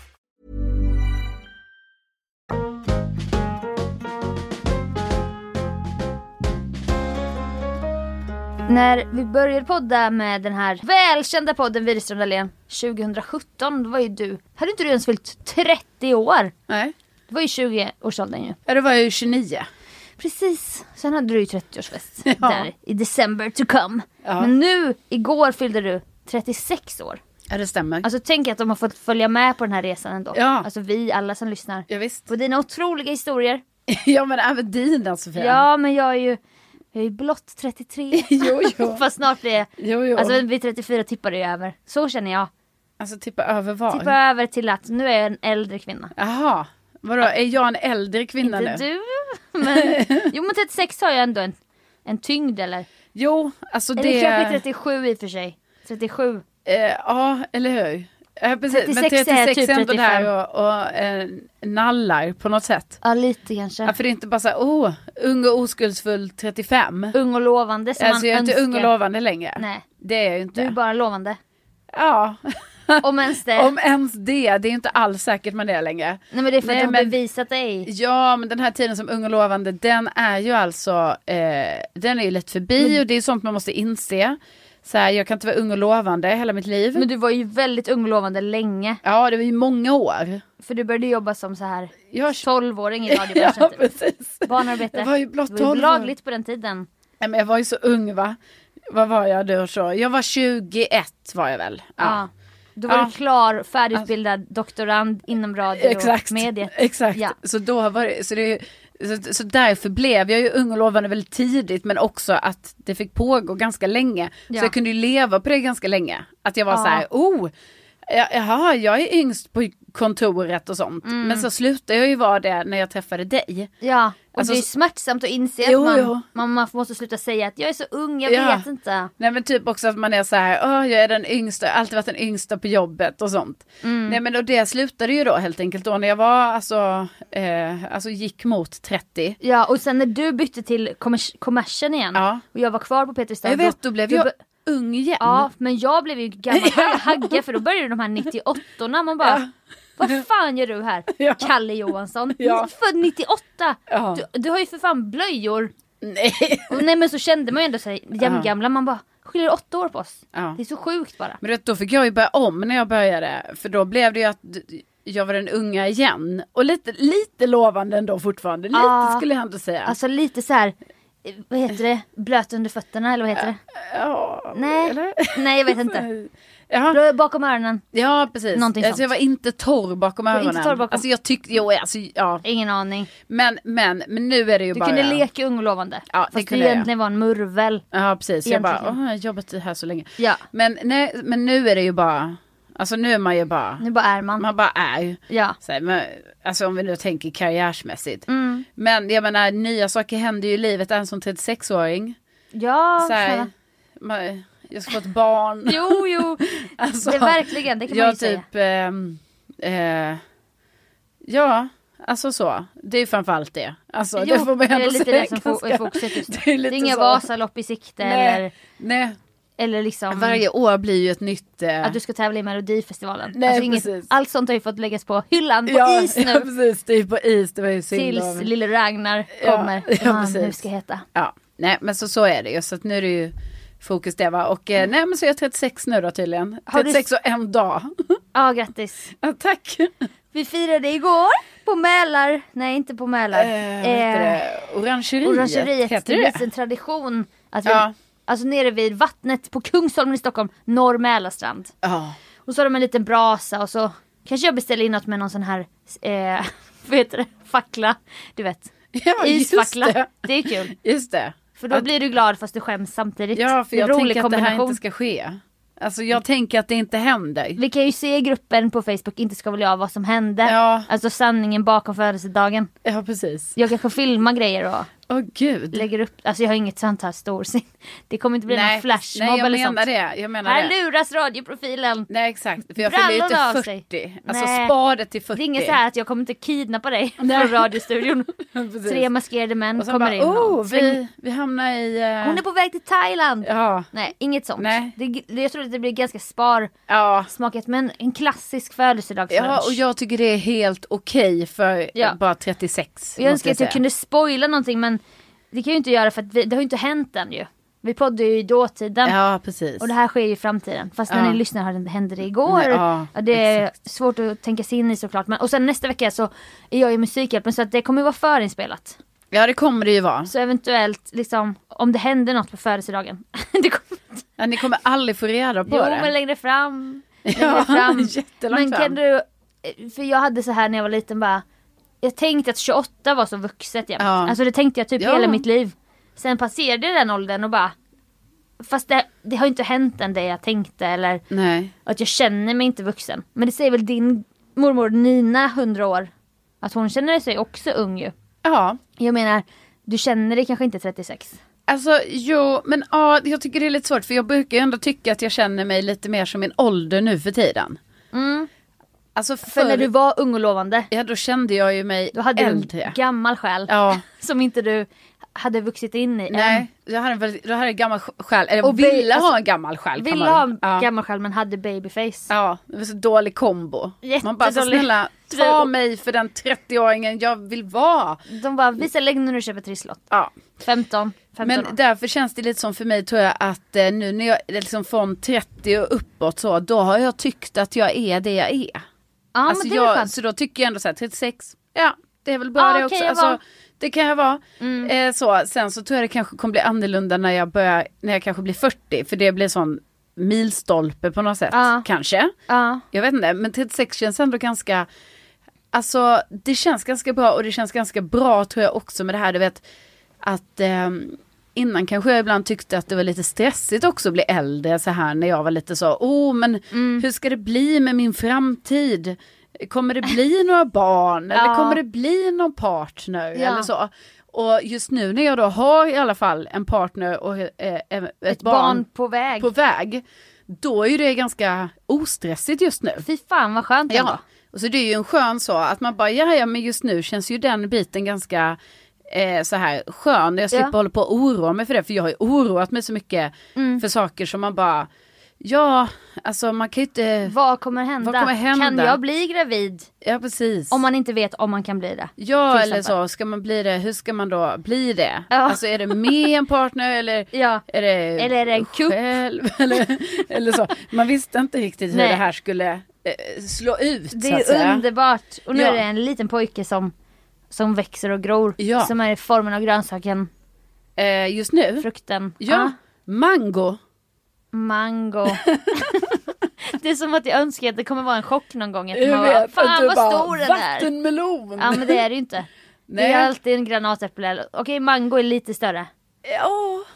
S2: När vi började podda med den här välkända podden Widerström Dahlén 2017, då var ju du, hade inte du ens fyllt 30 år?
S3: Nej,
S2: Det var ju 20-årsåldern ju.
S3: Ja, det var ju 29.
S2: Precis, sen hade du ju 30-årsfest där i december to come.
S3: Ja.
S2: Men nu, igår fyllde du 36 år.
S3: Ja det stämmer.
S2: Alltså tänk att de har fått följa med på den här resan ändå.
S3: Ja.
S2: Alltså vi alla som lyssnar.
S3: Ja, visst.
S2: På dina otroliga historier.
S3: Ja men även dina Sofia.
S2: Ja men jag är ju, jag är ju blott 33.
S3: Jo, jo.
S2: Fast snart blir jag,
S3: Jo, jo.
S2: alltså
S3: Alltså,
S2: vid 34 tippar det ju över. Så känner jag.
S3: tippa över var?
S2: Tippar Typ över till att nu är jag en äldre kvinna.
S3: Jaha. Vadå, är jag en äldre kvinna
S2: Inte
S3: nu?
S2: du. Men, jo men 36 har jag ändå en, en tyngd eller?
S3: Jo, alltså
S2: Eller
S3: det...
S2: kanske 37 i och för sig. 37.
S3: eh, ja, eller hur? Ja, precis.
S2: 36
S3: Men 36
S2: är typ
S3: ändå där
S2: 35.
S3: och, och eh, nallar på något sätt.
S2: Ja, lite kanske.
S3: Ja, för det är inte bara så här, oh, ung och oskuldsfull 35.
S2: Ung och lovande som
S3: alltså
S2: man
S3: jag är
S2: önskar.
S3: inte ung och lovande längre.
S2: Nej,
S3: Det är jag ju inte.
S2: du är bara lovande.
S3: Ja.
S2: Om ens det.
S3: Om ens det, det är ju inte alls säkert man är längre.
S2: Nej men det är för
S3: Nej,
S2: att du har
S3: men-
S2: bevisat dig.
S3: Ja, men den här tiden som ung och lovande, den är ju alltså, eh, den är ju lätt förbi och det är sånt man måste inse. Så här, jag kan inte vara ung och lovande hela mitt liv.
S2: Men du var ju väldigt ung och lovande länge.
S3: Ja, det var ju många år.
S2: För du började jobba som så här
S3: Jag...
S2: 12-åring i
S3: Ja,
S2: radiobranschen. typ.
S3: precis.
S2: Barnarbete.
S3: Jag var ju blott
S2: Det var
S3: 12
S2: ju
S3: år.
S2: lagligt på den tiden.
S3: Nej, men jag var ju så ung va? Vad var jag då? Så? Jag var 21 var jag väl.
S2: Ja. Då var
S3: Ja. Alltså-
S2: du klar, färdigutbildad doktorand inom radio
S3: Exakt.
S2: och mediet.
S3: Exakt.
S2: Ja.
S3: Så, då var det, så, det, så, så därför blev jag ju ung och lovande väldigt tidigt men också att det fick pågå ganska länge.
S2: Ja.
S3: Så jag kunde ju leva på det ganska länge. Att jag var
S2: Ja.
S3: så här, oh, ja, jaha, jag är yngst på kontoret och sånt. Men så slutade jag ju vara det när jag träffade dig.
S2: Mm. Ja, och
S3: Alltså,
S2: det är
S3: så-
S2: smärtsamt att inse
S3: Jo,
S2: att
S3: jo.
S2: man, man, man måste sluta säga att jag är så ung, jag
S3: Ja.
S2: vet inte.
S3: Nej men typ också att man är så här, "Åh, jag är den yngsta, jag har alltid varit den yngsta på jobbet och sånt.
S2: Mm.
S3: Nej men och det slutade ju då helt enkelt då när jag var alltså, eh, alltså gick mot 30.
S2: Ja, och sen när du bytte till kommers- kommersen igen
S3: Ja.
S2: och jag var kvar på Peter Stad,
S3: Jag vet, då blev jag
S2: be-
S3: ung igen.
S2: Ja, men jag blev ju gammal ha- hagga för då började de här 98orna. Man bara, vad fan gör du här?
S3: Ja.
S2: Kalle Johansson,
S3: Ja.
S2: född 98!
S3: Ja.
S2: Du, du har ju för fan blöjor.
S3: Nej.
S2: Och, nej men så kände man ju ändå sig jämngamla. Man bara, skiljer åtta år på oss.
S3: Ja.
S2: Det är så sjukt bara.
S3: Men du vet, då fick jag ju börja om när jag började. För då blev det ju att d- jag var den unga igen. Och lite, lite lovande ändå fortfarande. Lite
S2: Ja.
S3: skulle jag ändå säga.
S2: Alltså lite så här. eh, Vad heter det? Blöt under fötterna eller vad heter det?
S3: ja,
S2: Nej.
S3: eller?
S2: Nej jag vet inte.
S3: Ja,
S2: Blå- Bakom öronen.
S3: ja precis.
S2: Någonting
S3: Alltså, jag var
S2: sånt.
S3: inte torr bakom
S2: var
S3: öronen.
S2: inte torr bakom-
S3: Alltså jag tyckte, jo alltså ja.
S2: Ingen aning.
S3: Men, men, men nu är det ju
S2: Du
S3: bara.
S2: kunde leka ung och lovande.
S3: Ja, det
S2: Fast du
S3: kunde jag.
S2: egentligen var en murvel.
S3: Ja precis, jag bara,
S2: Egentligen.
S3: åh, jag har jobbat här så länge.
S2: Ja.
S3: Men, nej, men nu är det ju bara, alltså nu är man ju bara,
S2: Nu bara är man.
S3: man bara är.
S2: Ja.
S3: Så här, men, alltså om vi nu tänker karriärsmässigt.
S2: Mm.
S3: Men jag menar nya saker händer ju i livet även som 36-åring.
S2: Ja,
S3: Så här,
S2: snälla.
S3: man, jag ska få ett barn.
S2: Jo, jo.
S3: Alltså,
S2: det är verkligen, det kan man ju
S3: jag
S2: säga.
S3: typ, ehm, eh, ja, alltså så. Det är ju framförallt det. Alltså
S2: Jo,
S3: det får man
S2: det är
S3: ändå
S2: lite
S3: säga.
S2: det som fo- är fokuset just nu.
S3: det är
S2: Det är
S3: lite
S2: inga
S3: så.
S2: Vasalopp i sikte eller,
S3: Nej, nej,
S2: eller liksom
S3: varje år blir ju ett nytt. eh,
S2: att du ska tävla i Melodifestivalen.
S3: Nej,
S2: alltså inget,
S3: precis.
S2: allt sånt har ju fått läggas på hyllan, på
S3: ja,
S2: is nu.
S3: Ja precis, det är ju på is. Det var ju synd
S2: tills
S3: om-
S2: lille Ragnar
S3: Ja,
S2: kommer.
S3: ja,
S2: som han
S3: precis.
S2: nu ska heta.
S3: Ja, nej men så, så är det ju. Så att nu är det ju fokus det va. Och eh, nej men så är jag 36 nu då tydligen.
S2: Mm. Har du- Eh,
S3: 36 och en dag.
S2: Ja, grattis.
S3: ja, tack.
S2: Vi firade igår på Mälar, nej inte på Mälar.
S3: Eh, vad heter det? Orangeriet,
S2: Orangeriet,
S3: heter
S2: det
S3: det
S2: finns en tradition att vi,
S3: Ja.
S2: alltså nere vid vattnet på Kungsholmen i Stockholm, norr Mälarstrand.
S3: Ja.
S2: Och så har de en liten brasa och så kanske jag beställer in något med någon sån här, eh, vad heter det, fackla. Du vet,
S3: ja, just
S2: isfackla.
S3: det.
S2: Det. är kul.
S3: Just det.
S2: För då
S3: Att-
S2: blir du glad fast du skäms samtidigt.
S3: Ja, för
S2: det är en
S3: jag
S2: rolig
S3: tänker att det här
S2: kombination.
S3: inte ska ske. Alltså jag tänker att det inte händer.
S2: Vi kan ju se i gruppen på Facebook, inte ska väl jag, vad som hände.
S3: Ja.
S2: Alltså sanningen bakom födelsedagen.
S3: Ja, precis.
S2: Jag kanske filmar grejer och
S3: Åh gud.
S2: lägger upp, alltså jag har inget sånt här storsinne. Det kommer inte bli någon flashmob
S3: nej, jag
S2: eller sånt.
S3: menar det. Jag menar
S2: Här
S3: det.
S2: luras radioprofilen.
S3: Nej, exakt. För jag fyller ju
S2: Brallorna av
S3: inte
S2: sig.
S3: 40. Alltså
S2: Nej.
S3: spar det till 40.
S2: Det är inget så här att jag kommer inte kidnappa dig
S3: Nej.
S2: från radiostudion.
S3: Precis.
S2: Tre maskerade män
S3: Och sen
S2: Mm, kommer
S3: bara,
S2: in och
S3: oh, vi, vi hamnar i... eh,
S2: Hon är på väg till Thailand!
S3: Ja.
S2: Nej, inget sånt.
S3: Nej.
S2: Det, det- jag tror att det blir ganska sparsmakat
S3: Ja.
S2: men en klassisk födelsedagslunch.
S3: Ja, och jag tycker det är helt okej för
S2: Ja.
S3: bara 36.
S2: jag
S3: måste
S2: önskar att jag
S3: säga.
S2: kunde spoila någonting men det kan jag ju inte göra för att vi, det har ju inte hänt än ju. Vi poddar ju i dåtiden
S3: Ja, precis.
S2: och det här sker ju i framtiden. Fast när
S3: Ja.
S2: ni lyssnar har det- hände det igår.
S3: Nej, ja,
S2: ja, det är svårt att tänka sig in i såklart. Men, och sen nästa vecka så är jag i Musikhjälpen så att det kommer vara förinspelat.
S3: Ja, det kommer det ju vara.
S2: Så eventuellt liksom om det händer något på födelsedagen. det kommer inte
S3: Ja, ni kommer aldrig få reda på
S2: Jo
S3: det.
S2: men längre fram. Längre
S3: Ja,
S2: fram.
S3: jättelångt
S2: men kan
S3: fram.
S2: du, för jag hade så här när jag var liten bara, jag tänkte att 28 var så vuxet jämt.
S3: Ja.
S2: Alltså det tänkte jag typ
S3: Ja.
S2: hela mitt liv. Sen passerade jag den åldern och bara, fast det, det har ju inte hänt än det jag tänkte eller
S3: Nej.
S2: att jag känner mig inte vuxen. Men det säger väl din mormor Nina, 100 år, att hon känner sig också ung ju.
S3: Ja.
S2: Jag menar, du känner dig kanske inte 36.
S3: Alltså jo, men ja, jag tycker det är lite svårt för jag brukar ju ändå tycka att jag känner mig lite mer som min ålder nu för tiden. Alltså
S2: Mm. För när
S3: förr,
S2: du var ung och lovande,
S3: ja, då kände jag ju mig
S2: då hade du
S3: äldre.
S2: en gammal själ.
S3: ja.
S2: Som inte du hade vuxit in i än.
S3: Nej, jag hade en, väldigt, jag hade en gammal sj- själ, eller
S2: Och
S3: ville
S2: vi- alltså,
S3: ha en gammal själ. kan
S2: Ville
S3: man-
S2: ha en
S3: ja.
S2: gammal själ men hade babyface.
S3: Ja, det var så dålig kombo. Man bara, så
S2: Jättedålig.
S3: snälla ta mig för den 30-åringen jag vill vara.
S2: De bara, visa lägg när du köper trisslott.
S3: Ja.
S2: 15, 15
S3: Men
S2: år.
S3: därför känns det lite som för mig tror jag att eh, nu när jag liksom från 30 och uppåt så, då har jag tyckt att jag är det jag är.
S2: ja,
S3: alltså
S2: men det är väl
S3: jag,
S2: skönt.
S3: så då tycker jag ändå såhär 36, ja det är väl bra
S2: Ja,
S3: det
S2: kan
S3: också.
S2: jag Mm.
S3: Alltså,
S2: vara.
S3: det kan jag vara. Eh, så, sen så tror jag det kanske kommer bli annorlunda när jag börjar, när jag kanske blir 40 för det blir sån milstolpe på något sätt
S2: Ja.
S3: kanske.
S2: Ja.
S3: Jag vet inte, men 36 känns ändå ganska, alltså det känns ganska bra och det känns ganska bra tror jag också med det här du vet att ehm, innan kanske jag ibland tyckte att det var lite stressigt också att bli äldre så här när jag var lite så, oh men
S2: Mm.
S3: hur ska det bli med min framtid? Kommer det bli några barn eller
S2: Ja.
S3: kommer det bli någon partner
S2: Ja.
S3: eller så? Och just nu när jag då har i alla fall en partner och eh, eh, ett,
S2: Ett barn,
S3: barn
S2: på väg.
S3: på väg, då är ju det ganska ostressigt just nu.
S2: Fy fan vad skönt ändå.
S3: Ja, och så det är ju en skön så att man bara, ja ja men just nu känns ju den biten ganska eh, så här skön, jag slipper
S2: Ja.
S3: hålla på och oroa mig för det, för jag har ju oroat mig så mycket
S2: Mm.
S3: för saker som man bara, ja alltså man kan ju inte,
S2: Vad kommer hända?
S3: Vad kommer hända?
S2: Kan jag bli gravid?
S3: ja precis.
S2: Om man inte vet om man kan bli det.
S3: Ja
S2: till
S3: eller
S2: exempel.
S3: så, ska man bli det, hur ska man då bli det?
S2: Ja.
S3: Alltså är det med en partner eller
S2: Ja.
S3: är det,
S2: Eller är det en kupp?
S3: själv? Eller, eller så. Man visste inte riktigt hur
S2: Nej.
S3: det här skulle eh, slå ut
S2: Det
S3: så att
S2: är
S3: säga.
S2: underbart. Och nu
S3: Ja.
S2: är det en liten pojke som, som växer och gror.
S3: Ja.
S2: Som är i formen av grönsaken,
S3: Eh, just nu.
S2: frukten.
S3: Ja,
S2: Ah,
S3: mango.
S2: mango. det är som att jag önskar att det kommer vara en chock någon gång. Att
S3: Jag
S2: man bara,
S3: vet, att
S2: fan
S3: du
S2: vad
S3: bara,
S2: stor den är.
S3: Vattenmelon.
S2: Ja men det är det ju inte. Det är
S3: Nej.
S2: alltid en granatäpple. eller- Okej mango är lite större.
S3: Ja,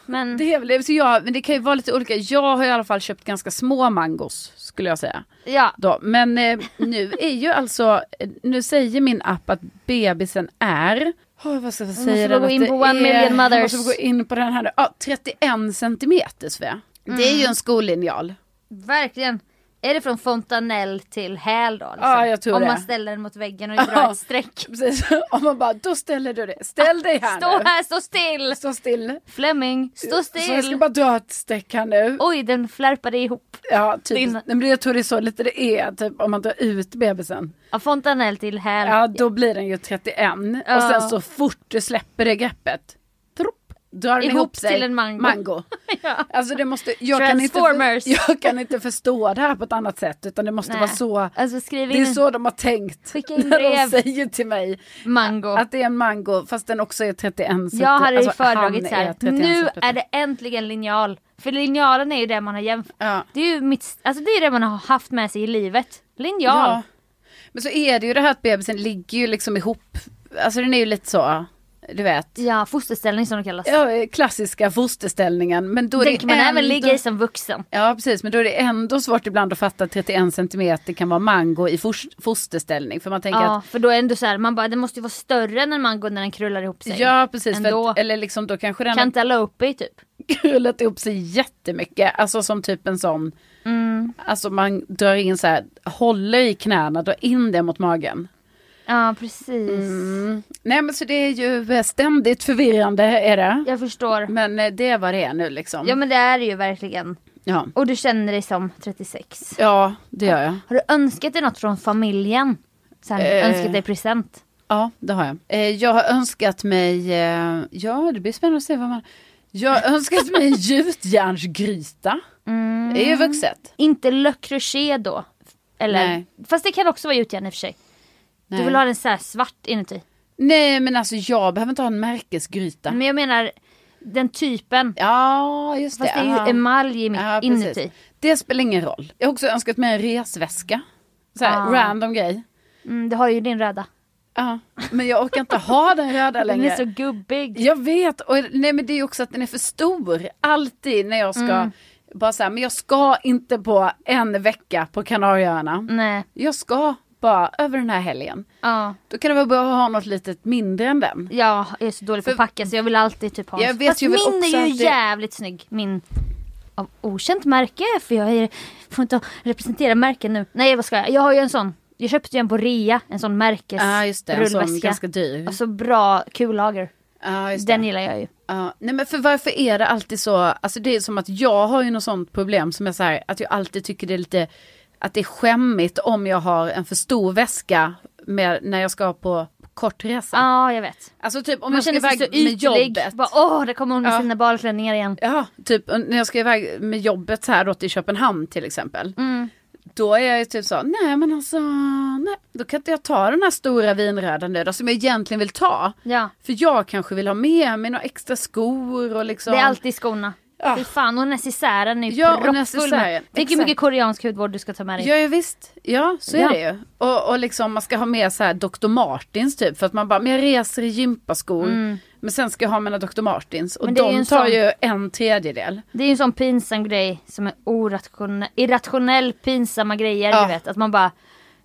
S2: Men
S3: det är väl det. Så jag, men det kan ju vara lite olika. Jag har i alla fall köpt ganska små mangos skulle jag säga.
S2: ja.
S3: Då. Men eh, nu är ju alltså, eh, nu säger min app att bebisen är Åh, vad ska jag
S2: vi
S3: säga den
S2: gå
S3: att
S2: in
S3: det
S2: på One
S3: är-
S2: Million Mothers.
S3: Måste vi gå in på den här nu. Ja, 31 centimeter Svea. Det är ju en skolinjal.
S2: Verkligen. Är det från fontanell till häl då? Liksom?
S3: Ja, jag tror
S2: Om
S3: det.
S2: man ställer den mot väggen och drar
S3: Ja.
S2: ett streck.
S3: Precis. Om man bara, då ställer du det. Ställ dig här
S2: Stå
S3: nu.
S2: här, stå still!
S3: Stå still.
S2: Fleming, stå
S3: Så jag ska
S2: still!
S3: bara dra ett streck här nu.
S2: Oj, den flärpade ihop.
S3: Ja, typ.
S2: Din-
S3: Nej, men jag tror det är så lite det är, typ om man drar ut bebisen.
S2: Ja, fontanell till häl.
S3: Ja, då blir den ju 31. Och
S2: Ja.
S3: sen så fort du släpper det greppet, tropp, drar den
S2: Ihop
S3: ihop, sig.
S2: till en mango. Ja.
S3: Alltså det måste, jag kan, inte
S2: Transformers.
S3: för, jag kan inte förstå det här på ett annat sätt utan det måste
S2: Nej.
S3: vara så,
S2: Alltså skriv
S3: det är
S2: in
S3: så de har tänkt.
S2: Skicka in
S3: när
S2: brev.
S3: de säger till mig
S2: mango.
S3: att det är en mango fast den också är 31. så
S2: jag
S3: att-
S2: hade ju
S3: alltså, han
S2: föredragit så
S3: är alltså,
S2: här.
S3: 31
S2: nu
S3: centimeter.
S2: är det äntligen linjal. För linjalen är ju det man har jämfört.
S3: Ja.
S2: Det är ju mitt, alltså det är det man har haft med sig i livet. Linjal.
S3: Ja. Men så är det ju det här att bebisen ligger ju liksom ihop. Alltså den är ju lite så, du vet.
S2: Ja, fosterställning som det kallas.
S3: Ja, klassiska fosterställningen. Men då är
S2: Den
S3: det
S2: kan man även
S3: ändå-
S2: ligga i som vuxen.
S3: Ja precis, men då är det ändå svårt ibland att fatta att 31 centimeter kan vara mango i fos- fosterställning. För man tänker
S2: Ja,
S3: att
S2: för då är det ändå så här, man bara, den måste ju vara större än en mango när den krullar ihop sig.
S3: Ja precis, för
S2: Ändå.
S3: att, eller liksom då kanske den
S2: Cantaloupe typ.
S3: har krullat ihop sig jättemycket. Alltså som typ en sån,
S2: Mm.
S3: alltså man drar in så här, håller i knäna, drar in det mot magen.
S2: Ja, precis.
S3: Mm. Nej men så det är ju eh, ständigt förvirrande är det.
S2: Jag förstår.
S3: Men eh, det är vad det är nu liksom.
S2: Ja men det är det ju verkligen.
S3: Ja,
S2: Och du känner dig som 36.
S3: ja det gör jag.
S2: Har du önskat dig något från familjen? Så här,
S3: Eh.
S2: Önskat dig present?
S3: Ja, det har jag. Eh, jag har önskat mig, eh, ja det blir spännande att se vad man... Jag har önskat mig en gjutjärnsgryta.
S2: Mm.
S3: Det är ju vuxet.
S2: Inte Le Creuset då? Eller?
S3: Nej.
S2: Fast det kan också vara gjutjärn i och för sig.
S3: Nej.
S2: Du vill ha den så här svart inuti.
S3: Nej men alltså jag behöver inte ha en märkesgryta.
S2: Men jag menar den typen.
S3: Ja, just
S2: Fast det är
S3: Aha.
S2: ju emalj i mitt-
S3: Ja, precis.
S2: inuti.
S3: Det spelar ingen roll. Jag har också önskat mig en resväska. Så här,
S2: Ah.
S3: random grej.
S2: Mm, du har ju din röda.
S3: Ja. Men jag orkar inte ha den röda längre.
S2: Den är så gubbig.
S3: Jag vet, och nej men det är ju också att den är för stor. Alltid när jag ska,
S2: Mm.
S3: bara så här, men jag ska inte på en vecka på Kanarieöarna.
S2: Nej.
S3: Jag ska bara över den här helgen.
S2: Mm. Ja.
S3: Då kan det vara bra att ha något litet mindre än den.
S2: Ja, jag är så dålig på att
S3: För-
S2: packa så jag vill alltid typ ha en-
S3: Jag vet
S2: Fast
S3: ju väl
S2: min
S3: också
S2: är ju
S3: att det-
S2: jävligt snygg. Min av okänt märke för jag är, får inte representera märken nu. Nej vad ska jag, jag har ju en sån. Jag köpte ju en på rea, en sån märkes
S3: Ja, Ah, just det. En sån
S2: rullväska.
S3: ganska dyr.
S2: Alltså bra kullager.
S3: Ja, just
S2: Den
S3: det.
S2: gillar jag ju.
S3: Ja, nej men för varför är det alltid så, alltså det är som att jag har ju något sånt problem som är så här, att jag alltid tycker det är lite, att det är skämmigt om jag har en för stor väska med, när jag ska på kortresa.
S2: Ja, jag vet.
S3: Alltså typ om
S2: Man
S3: jag ska
S2: känner sig
S3: iväg
S2: så
S3: med
S2: ytlig.
S3: jobbet.
S2: Bara, Åh, där kommer hon med
S3: Ja.
S2: sina balklänningar igen.
S3: Ja, typ när jag ska iväg med jobbet så här då till Köpenhamn till exempel.
S2: Mm.
S3: Då är jag ju typ så, nej men alltså, nej, då kan inte jag ta den här stora vinröda nu då som jag egentligen vill ta.
S2: Ja.
S3: För jag kanske vill ha med mig några extra skor och liksom.
S2: Det är alltid skorna.
S3: Ja.
S2: Fy fan, och necessären är ju
S3: Ja, och
S2: proppfull med-
S3: necessären.
S2: Tänk hur
S3: Exakt.
S2: mycket koreansk hudvård du ska ta med dig.
S3: Ja, ja visst, ja så är
S2: Ja.
S3: det ju. Och, och liksom man ska ha med så här Dr. Martins typ för att man bara, men jag reser i gympaskor. Men sen ska jag ha mina Dr. Martins och
S2: Mm. Men det är ju
S3: de
S2: en
S3: tar
S2: sån-
S3: ju en tredjedel.
S2: Det är ju en sån pinsam grej som är orationell, irrationell pinsamma grejer
S3: Ja.
S2: du vet. Att man bara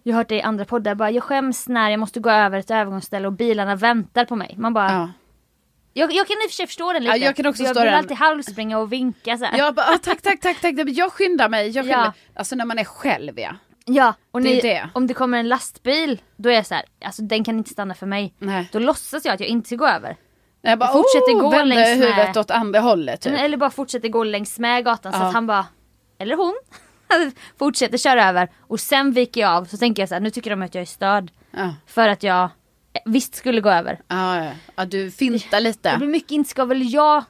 S2: Jag har hört det i andra poddar bara jag skäms när jag måste gå över ett övergångsställe och bilarna väntar på mig. Man bara
S3: Ja.
S2: jag, jag kan i och för sig förstå den lite.
S3: Ja, jag kan också
S2: för jag
S3: förstå
S2: vill
S3: den.
S2: alltid halvspringa och vinka så här.
S3: Jag bara, ah, tack, tack, tack, tack, Nej, men jag skyndar mig, jag skyndar
S2: Ja.
S3: mig. Alltså när man är själv ja.
S2: Ja, och
S3: Det är
S2: ni,
S3: det.
S2: om det kommer en lastbil då är jag så här, alltså den kan inte stanna för mig.
S3: Nej.
S2: Då låtsas jag att jag inte ska gå över.
S3: Jag bara,
S2: Jag fortsätter
S3: oh,
S2: gå
S3: vänder
S2: längs med-
S3: huvudet åt andra hållet typ.
S2: Eller bara fortsätter gå längs med gatan så
S3: Ja.
S2: att han bara, eller hon, fortsätter köra över. Och sen viker jag av så tänker jag så här, nu tycker de att jag är störd.
S3: Ja.
S2: För att jag eh, visst skulle gå över.
S3: Ja, ja. ja, du fintar
S2: Det
S3: lite.
S2: blir mycket, inte ska väl jag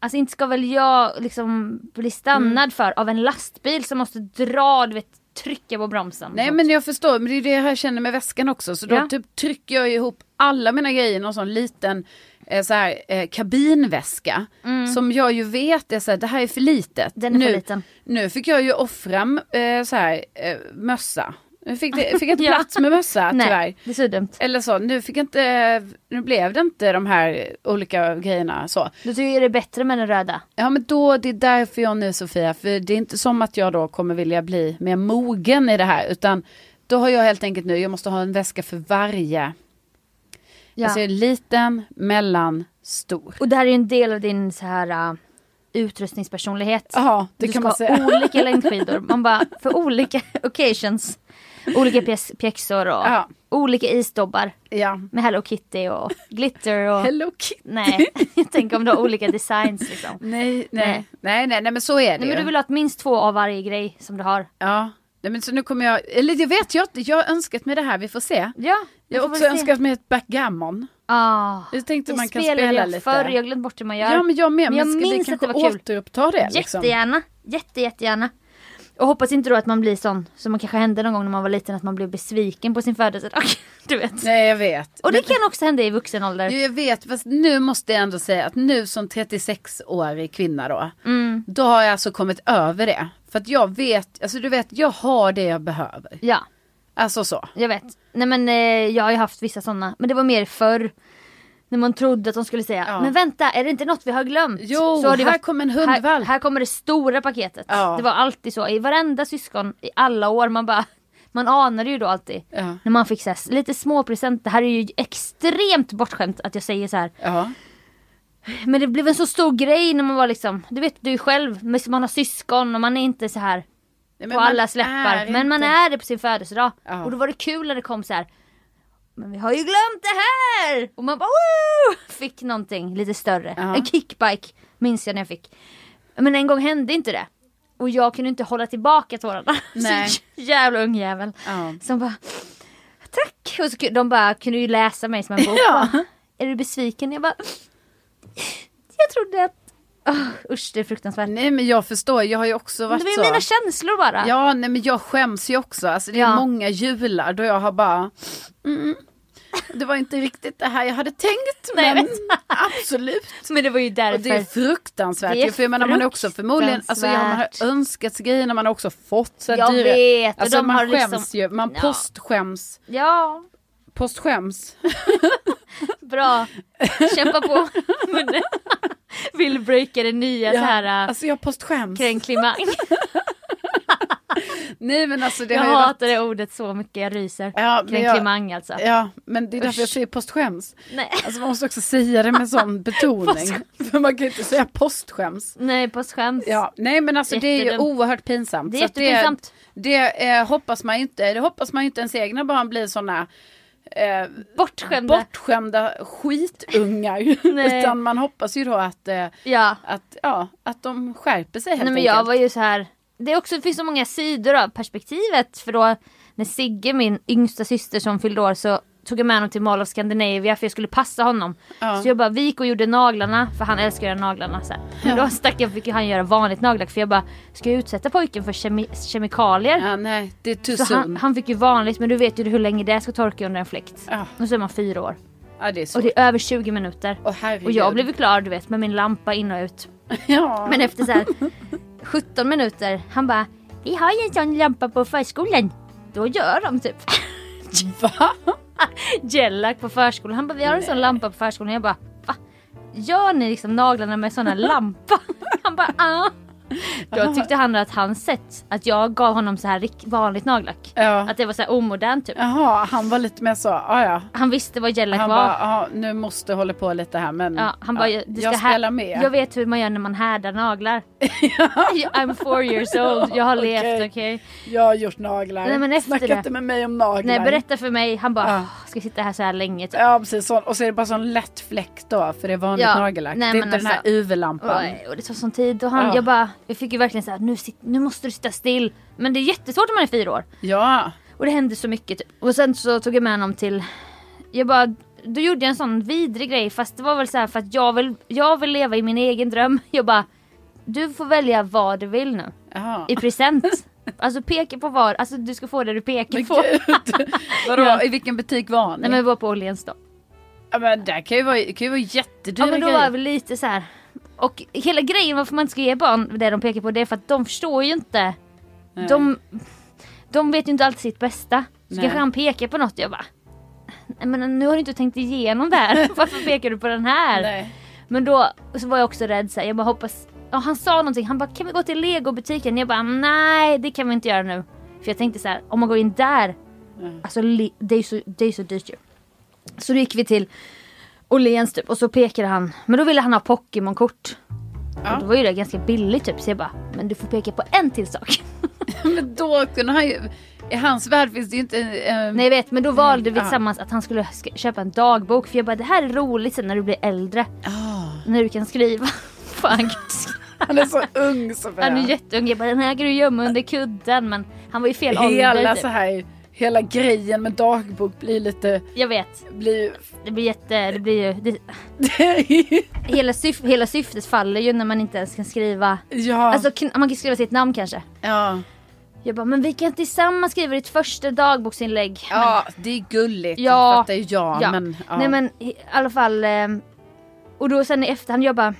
S2: Alltså inte ska väl jag liksom bli stannad
S3: Mm.
S2: för av en lastbil som måste dra, du vet, trycka på bromsen.
S3: Nej
S2: Så-
S3: men jag förstår, men det är det jag känner med väskan också. Så då
S2: Ja.
S3: typ trycker jag ihop alla mina grejer i någon sån liten eh, så här, eh, kabinväska. Som jag ju vet är så här, det här är för litet.
S2: Mm. Den är
S3: nu,
S2: för liten.
S3: Nu fick jag ju offra eh, så här, eh, mössa. Nu fick, det, fick jag inte
S2: Ja.
S3: plats med mössa
S2: Nej,
S3: tyvärr.
S2: det är så dumt.
S3: Eller så, nu fick jag inte, nu blev det inte de här olika grejerna så.
S2: Du tycker jag det är bättre med den röda.
S3: Ja men då, det är därför jag nu Sofia, för det är inte som att jag då kommer vilja bli mer mogen i det här utan då har jag helt enkelt nu, jag måste ha en väska för varje.
S2: Ja.
S3: Alltså liten, mellan, stor.
S2: Och det här är ju en del av din så här eh, utrustningspersonlighet.
S3: Ja, det
S2: du
S3: kan
S2: ska
S3: man säga.
S2: ha olika längdskidor. Man bara, för olika occasions. Olika pjäs- pjäxor och
S3: Ja.
S2: olika isdobbar.
S3: Ja.
S2: Med Hello Kitty och glitter och...
S3: Hello Kitty.
S2: Nej, jag tänker om du har olika designs liksom. Nej,
S3: Nej,
S2: Nej.
S3: nej, nej, nej, nej men så är det
S2: men
S3: ju.
S2: du vill ha att minst två av varje grej som du har.
S3: Ja, nej, men så nu kommer jag, eller jag vet, jag, jag har önskat mig det här, vi får se.
S2: Ja,
S3: Jag har
S2: får
S3: också
S2: väl se.
S3: önskat mig ett backgammon.
S2: Ah,
S3: Jag tänkte
S2: det
S3: man kan
S2: spelade
S3: spela
S2: jag
S3: lite.
S2: förr, jag har glömt bort hur man gör.
S3: Ja men jag med,
S2: Men jag
S3: men ska vi
S2: minns att det
S3: kanske
S2: var kul.
S3: återuppta det liksom?
S2: Jättegärna, jätte, jättegärna. Och hoppas inte då att man blir sån som man kanske hände någon gång när man var liten, att man blev besviken på sin födelsedag. Du vet.
S3: Nej jag vet.
S2: Och det
S3: Men-
S2: kan också hända i vuxen ålder.
S3: Jo, jag vet, fast nu måste jag ändå säga att nu som 36-årig kvinna då,
S2: Mm.
S3: då har jag alltså kommit över det. För att jag vet, alltså du vet, jag har det jag behöver.
S2: Ja,
S3: Alltså så.
S2: jag vet. Nej men eh, jag har ju haft vissa sådana, men det var mer förr. När man trodde att de skulle säga,
S3: Ja.
S2: men vänta är det inte något vi har glömt?
S3: Jo,
S2: har det
S3: här kom en hundvalp.
S2: Här, här kommer det stora paketet.
S3: Ja.
S2: Det var alltid så, i varenda syskon i alla år. Man bara, man anade ju då alltid.
S3: Ja.
S2: När man fick så här, lite små present. Det här är ju extremt bortskämt att jag säger så här.
S3: Ja.
S2: Men det blev en så stor grej när man var liksom, du vet du ju själv, men man har syskon och man är inte så här
S3: Nej,
S2: på
S3: man
S2: alla
S3: är
S2: släppar.
S3: inte-
S2: Men man är det på sin födelsedag.
S3: Ja.
S2: Och då var det kul när det kom så här. Men vi har ju glömt det här! Och man bara Woo! Fick någonting lite större.
S3: Ja.
S2: En kickbike minns jag när jag fick. Men en gång hände inte det. Och jag kunde inte hålla tillbaka tårarna.
S3: Nej.
S2: Så jävla ung jävel.
S3: Ja.
S2: Som bara Tack! Och så, kunde- de bara kunde ju läsa mig som en bok.
S3: Ja.
S2: Bara, Är du besviken? Jag bara Jag trodde att Åh, Usch det är fruktansvärt.
S3: Nej men jag förstår, jag har ju också
S2: Men
S3: varit
S2: det var ju
S3: så.
S2: mina känslor bara.
S3: Ja, nej men jag skäms ju också. Alltså det är
S2: Ja.
S3: många jular då jag har bara, mm, det var inte riktigt det här jag hade tänkt
S2: Nej, jag
S3: men
S2: vet.
S3: absolut.
S2: Men det var ju därför.
S3: Och det är fruktansvärt.
S2: Det är
S3: ju, för jag menar, man är också förmodligen, alltså, ja, man har
S2: fruktansvärt.
S3: önskat sig grejerna, man har också fått så här
S2: Jag
S3: dyra.
S2: vet, och
S3: Alltså
S2: de
S3: man
S2: har
S3: skäms
S2: liksom-
S3: ju, man
S2: Ja.
S3: postskäms.
S2: Ja,
S3: Postskäms.
S2: bra. Kämpa på. Men- Vill breaka det nya så här äh,
S3: alltså jag postskäms.
S2: kränklimang.
S3: Nej men alltså det
S2: jag
S3: har ju varit...
S2: hatar det ordet så mycket, jag ryser.
S3: Ja, men jag-
S2: Kränklimang alltså.
S3: Ja, men det är därför jag säger postskäms.
S2: Nej.
S3: Alltså man måste också säga det med sån betoning. För man kan ju inte säga postskäms.
S2: Nej, på skäms.
S3: Ja, nej men alltså det är ju
S2: Jättedumt.
S3: oerhört pinsamt.
S2: Det är
S3: Så att
S2: jättepinsamt.
S3: Det, det eh, hoppas man ju inte, det hoppas man ju inte ens egna barn blir sådana eh,
S2: Bortskämda.
S3: bortskämda skitungar.
S2: Nej.
S3: Utan man hoppas ju då att, eh,
S2: Ja.
S3: att, ja, att de skärper sig helt
S2: Nej, men
S3: enkelt.
S2: jag var ju så här. Det är också, det finns så många sidor av perspektivet. För då när Sigge, min yngsta syster som fyllde år, så tog jag med honom till Mall of Scandinavia för jag skulle passa honom.
S3: Ja.
S2: Så jag bara, vi gick och gjorde naglarna, för han älskar att göra naglarna. Så här. Men då stack jag, fick ju han göra vanligt nagellack för jag bara, ska jag utsätta pojken för kemi- kemikalier?
S3: Ja, nej, det är too
S2: Så han,
S3: soon.
S2: han fick ju vanligt, men du vet ju hur länge det ska torka under en fläkt.
S3: Ja.
S2: Och så är man fyra år.
S3: Ja, det är så.
S2: Och det är över 20 minuter.
S3: Åh, herregud.
S2: och jag blev ju klar du vet med min lampa in och ut.
S3: Ja.
S2: Men efter så här 17 minuter, han bara Vi har ju en sån lampa på förskolan. Då gör de typ
S3: Va?
S2: gellack på förskolan. Han bara vi har en sån lampa på förskolan. Jag bara va? Gör ni liksom naglarna med såna lampa? Han bara ah. Då tyckte han att han sett att jag gav honom så här rikt- vanligt nagellack.
S3: Ja.
S2: Att det var så här omodernt typ.
S3: Jaha, han var lite mer så, ja ja.
S2: Han visste vad gellack
S3: Han
S2: var.
S3: bara, ja nu måste jag hålla på lite här men
S2: Ja, han bara,
S3: Mm. ja,
S2: du ska
S3: jag
S2: här-
S3: spelar med.
S2: Jag vet hur man gör när man härdar naglar. Jag- I'm four years old, jag har
S3: Okej.
S2: levt okej.
S3: Jag har gjort naglar.
S2: Nej, men efter
S3: Snacka
S2: det-
S3: inte med mig om naglar.
S2: Nej berätta för mig, han bara,
S3: Ja.
S2: "Åh, ska jag sitta här så här länge? Typ.
S3: Ja precis, sån. och så är det bara sån lätt fläck då för det är vanligt
S2: Ja,
S3: nagellack.
S2: nej,
S3: det är
S2: men
S3: inte den här
S2: alltså-
S3: UV-lampan.
S2: Oj, Och det tar sån tid och han,
S3: Ja.
S2: jag bara, jag fick ju verkligen såhär, nu, sit- nu måste du sitta still. Men det är jättesvårt om man är fyra år.
S3: Ja,
S2: Och det hände så mycket typ. Och sen så tog jag med honom till, jag bara, då gjorde jag en sån vidrig grej fast det var väl så här för att jag vill, jag vill leva i min egen dröm. Jag bara, du får välja vad du vill nu.
S3: jaha.
S2: i present. Alltså peka på var, alltså du ska få det du pekar
S3: Men
S2: på.
S3: gud. Vadå,
S2: Ja.
S3: i vilken butik var ni?
S2: Nej men vi var på Åhléns då.
S3: ja, men där kan ju vara, kan ju vara
S2: Ja
S3: jättedyra
S2: men då
S3: grejer.
S2: var vi lite så här. Och hela grejen varför man inte ska ge barn det de pekar på det är för att de förstår ju inte. De, de vet ju inte alltid sitt bästa. Så
S3: Nej.
S2: kanske han pekar på något jag bara. Nej men nu har du inte tänkt igenom det här. Varför pekar du på den här?
S3: Nej.
S2: Men då så var jag också rädd så här, jag bara hoppas, ja han sa någonting, han bara kan vi gå till legobutiken? Jag bara nej det kan vi inte göra nu. För jag tänkte så här, om man går in där, alltså le- det är ju så, det är ju så dyrt ju. Så då gick vi till Åhléns typ och så pekade han, men då ville han ha Pokémon-kort. Och då var ju det ganska billigt typ så jag bara, men du får peka på en till sak.
S3: Men då kunde han ju, i hans värld finns det ju inte... eh,
S2: Nej jag vet men då valde vi
S3: ja.
S2: tillsammans att han skulle sk- köpa en dagbok för jag bara det här är roligt sen när du blir äldre. När du kan skriva. Fan.
S3: Han är så ung så
S2: Han är jätteung. Jag bara den här kan du gömma under kudden. Men han var ju fel ålder.
S3: Hela
S2: typ.
S3: så här, hela grejen med dagbok blir lite,
S2: Jag vet.
S3: blir ju...
S2: Det blir jätte, det blir ju, det, hela, syf, hela syftet faller ju när man inte ens kan skriva.
S3: ja,
S2: Alltså kn- man kan skriva sitt namn kanske.
S3: ja.
S2: Jag bara men vi kan tillsammans skriva ditt första dagboksinlägg.
S3: Ja, det är gulligt.
S2: Ja.
S3: Fattar ju jag.
S2: Ja.
S3: Men, ja.
S2: Nej men i alla fall. Eh, och då sen i efterhand jag bara.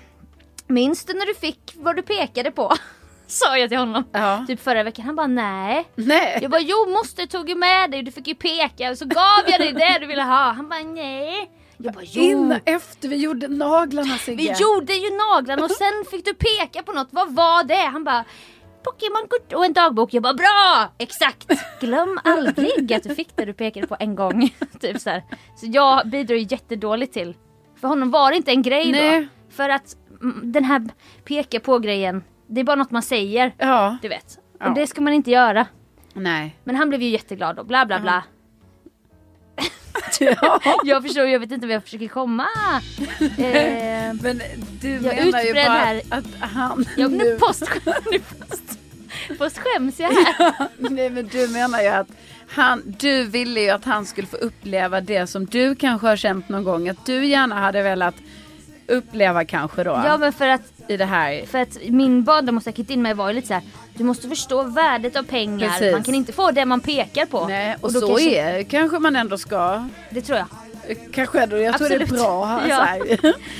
S2: Minns du när du fick vad du pekade på? Sa jag till honom.
S3: Ja.
S2: Typ förra veckan. Han bara nej.
S3: Nej.
S2: Jag bara jo moster jag tog ju med dig. Du fick ju peka. Och så gav jag dig det du ville ha. Han bara nej. Jag bara jo.
S3: Innan, efter vi gjorde naglarna Sigge.
S2: Vi gjorde ju naglarna och sen fick du peka på något. Vad var det? Han bara Pokémon-kort och en dagbok. Jag bara bra! Exakt! Glöm aldrig att du fick det du pekade på en gång. typ så, här. så jag bidrar ju jättedåligt till. För honom var det inte en grej
S3: Nej.
S2: då. För att mm, den här peka på-grejen, det är bara något man säger.
S3: Ja.
S2: Du vet.
S3: Ja.
S2: Och det ska man inte göra.
S3: Nej.
S2: Men han blev ju jätteglad och bla bla bla.
S3: Ja.
S2: Jag förstår, jag vet inte vad jag försöker komma. eh,
S3: Men du
S2: Jag
S3: menar ju
S2: utbredd
S3: bara
S2: här.
S3: att han
S2: jag, nu
S3: nu...
S2: postskäms nu post, postskäms jag här.
S3: Nej men du menar ju att han, du ville ju att han skulle få uppleva det som du kanske har känt någon gång. Att du gärna hade velat uppleva kanske då.
S2: Ja men för att,
S3: I det här.
S2: för att min barndom och säkert in mig var ju lite så här. Du måste förstå värdet av pengar.
S3: Precis.
S2: Man kan inte få det man pekar på.
S3: Nej, och,
S2: då
S3: så
S2: kanske-
S3: är kanske man ändå ska.
S2: Det tror jag.
S3: Kanske ändå, jag tror
S2: Absolut.
S3: det är bra.
S2: Ja.
S3: Så här.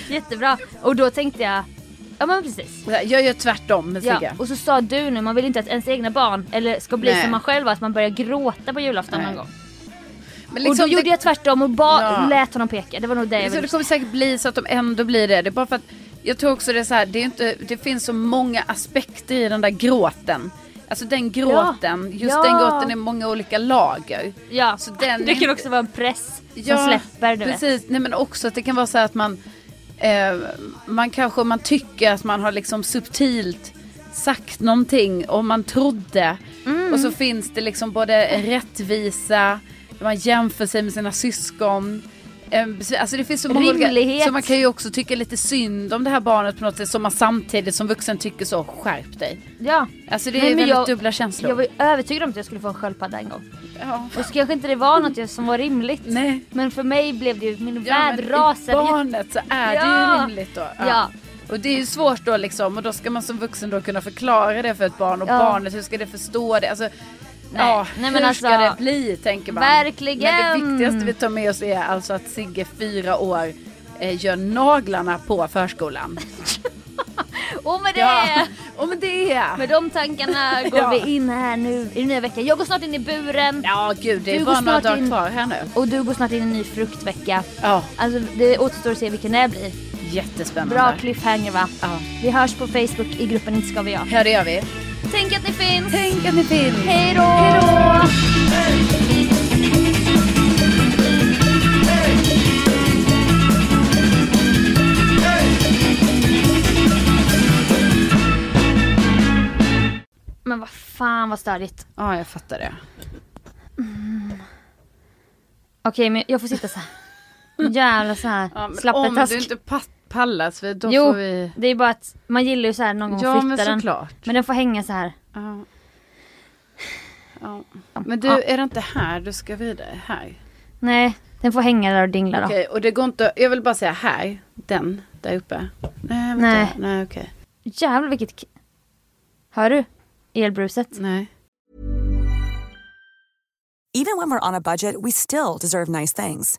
S2: Jättebra. Och då tänkte jag, ja men precis.
S3: Jag gör tvärtom med
S2: Ja.
S3: Sigge.
S2: Och så sa du nu, man vill inte att ens egna barn eller ska bli
S3: Nej.
S2: som man själv var, att man börjar gråta på julafton
S3: Nej.
S2: någon gång.
S3: Men
S2: och då
S3: liksom,
S2: gjorde
S3: det,
S2: jag tvärtom och bara
S3: Ja.
S2: lät honom peka. Det var nog det jag
S3: liksom, det
S2: ville.
S3: kommer säkert bli så att de ändå blir det. Det är bara för att jag tror också det är så här, det, är inte, det finns så många aspekter i den där gråten. Alltså den gråten, just
S2: Ja.
S3: den gråten är många olika lager.
S2: Ja,
S3: Så den är
S2: det kan
S3: inte-
S2: också vara en press som släpper. Du vet.
S3: precis. Nej men också att det kan vara så här att man, eh, man kanske man tycker att man har liksom subtilt sagt någonting och man trodde.
S2: Mm.
S3: Och så finns det liksom både en rättvisa, man jämför sig med sina syskon. Eh, Alltså det finns så många olika,
S2: Rimlighet.
S3: så man kan ju också tycka lite synd om det här barnet på något sätt som man samtidigt som vuxen tycker så, skärp dig.
S2: Ja.
S3: Alltså det är
S2: Nej, men
S3: väldigt
S2: jag-
S3: dubbla känslor.
S2: Jag var ju övertygad om att jag skulle få en sköldpadda en gång.
S3: ja.
S2: Och så kanske inte det var något som var rimligt.
S3: Nej.
S2: Men för mig blev det ju, min
S3: Ja,
S2: värld
S3: men i
S2: rasade ju.
S3: barnet så är det
S2: Ja.
S3: ju rimligt då.
S2: Ja.
S3: Och det är ju svårt då liksom och då ska man som vuxen då kunna förklara det för ett barn och
S2: Ja.
S3: barnet hur ska det förstå det? Alltså,
S2: Nej.
S3: Ja,
S2: Nej, men
S3: hur
S2: alltså,
S3: ska det bli tänker man.
S2: verkligen.
S3: Men det viktigaste vi tar med oss är alltså att Sigge fyra år eh, gör naglarna på förskolan.
S2: Och med det!
S3: och men det är.
S2: Med de tankarna går
S3: Ja.
S2: vi in här nu i den nya veckan. Jag går snart in i buren.
S3: Ja gud det är
S2: Du går
S3: bara några
S2: snart
S3: dagar
S2: in.
S3: kvar här nu.
S2: Och du går snart in i en ny fruktvecka.
S3: Ja,
S2: Alltså det återstår att se vilken det blir.
S3: jättespännande.
S2: Bra cliffhanger va?
S3: Ja.
S2: Vi hörs på Facebook i gruppen Inte ska vi jag.
S3: Ja det gör vi.
S2: Tänk att ni finns!
S3: Tänk att ni finns.
S2: Hej då! Men vad fan vad störigt.
S3: Ja jag fattar det.
S2: Okej men jag får sitta så här. Jävla så här
S3: Ja, men om
S2: slappetask.
S3: du inte pa- pallar så då
S2: Jo,
S3: får vi...
S2: det är bara att man gillar ju så här någon gång
S3: Ja
S2: att
S3: men
S2: flytta den.
S3: såklart.
S2: Men den får hänga så här.
S3: Ja. Ja. Men du,
S2: Ja.
S3: är det inte här du ska vrida? Här?
S2: Nej, den får hänga där och dingla då.
S3: Okej, och det går inte, jag vill bara säga här, den, där uppe. Nej,
S2: Nej.
S3: vänta. Nej, Nej okej.
S2: Jävlar vilket... k- Hör du? Elbruset.
S3: Nej.
S5: Even when we're on a budget, we still deserve nice things.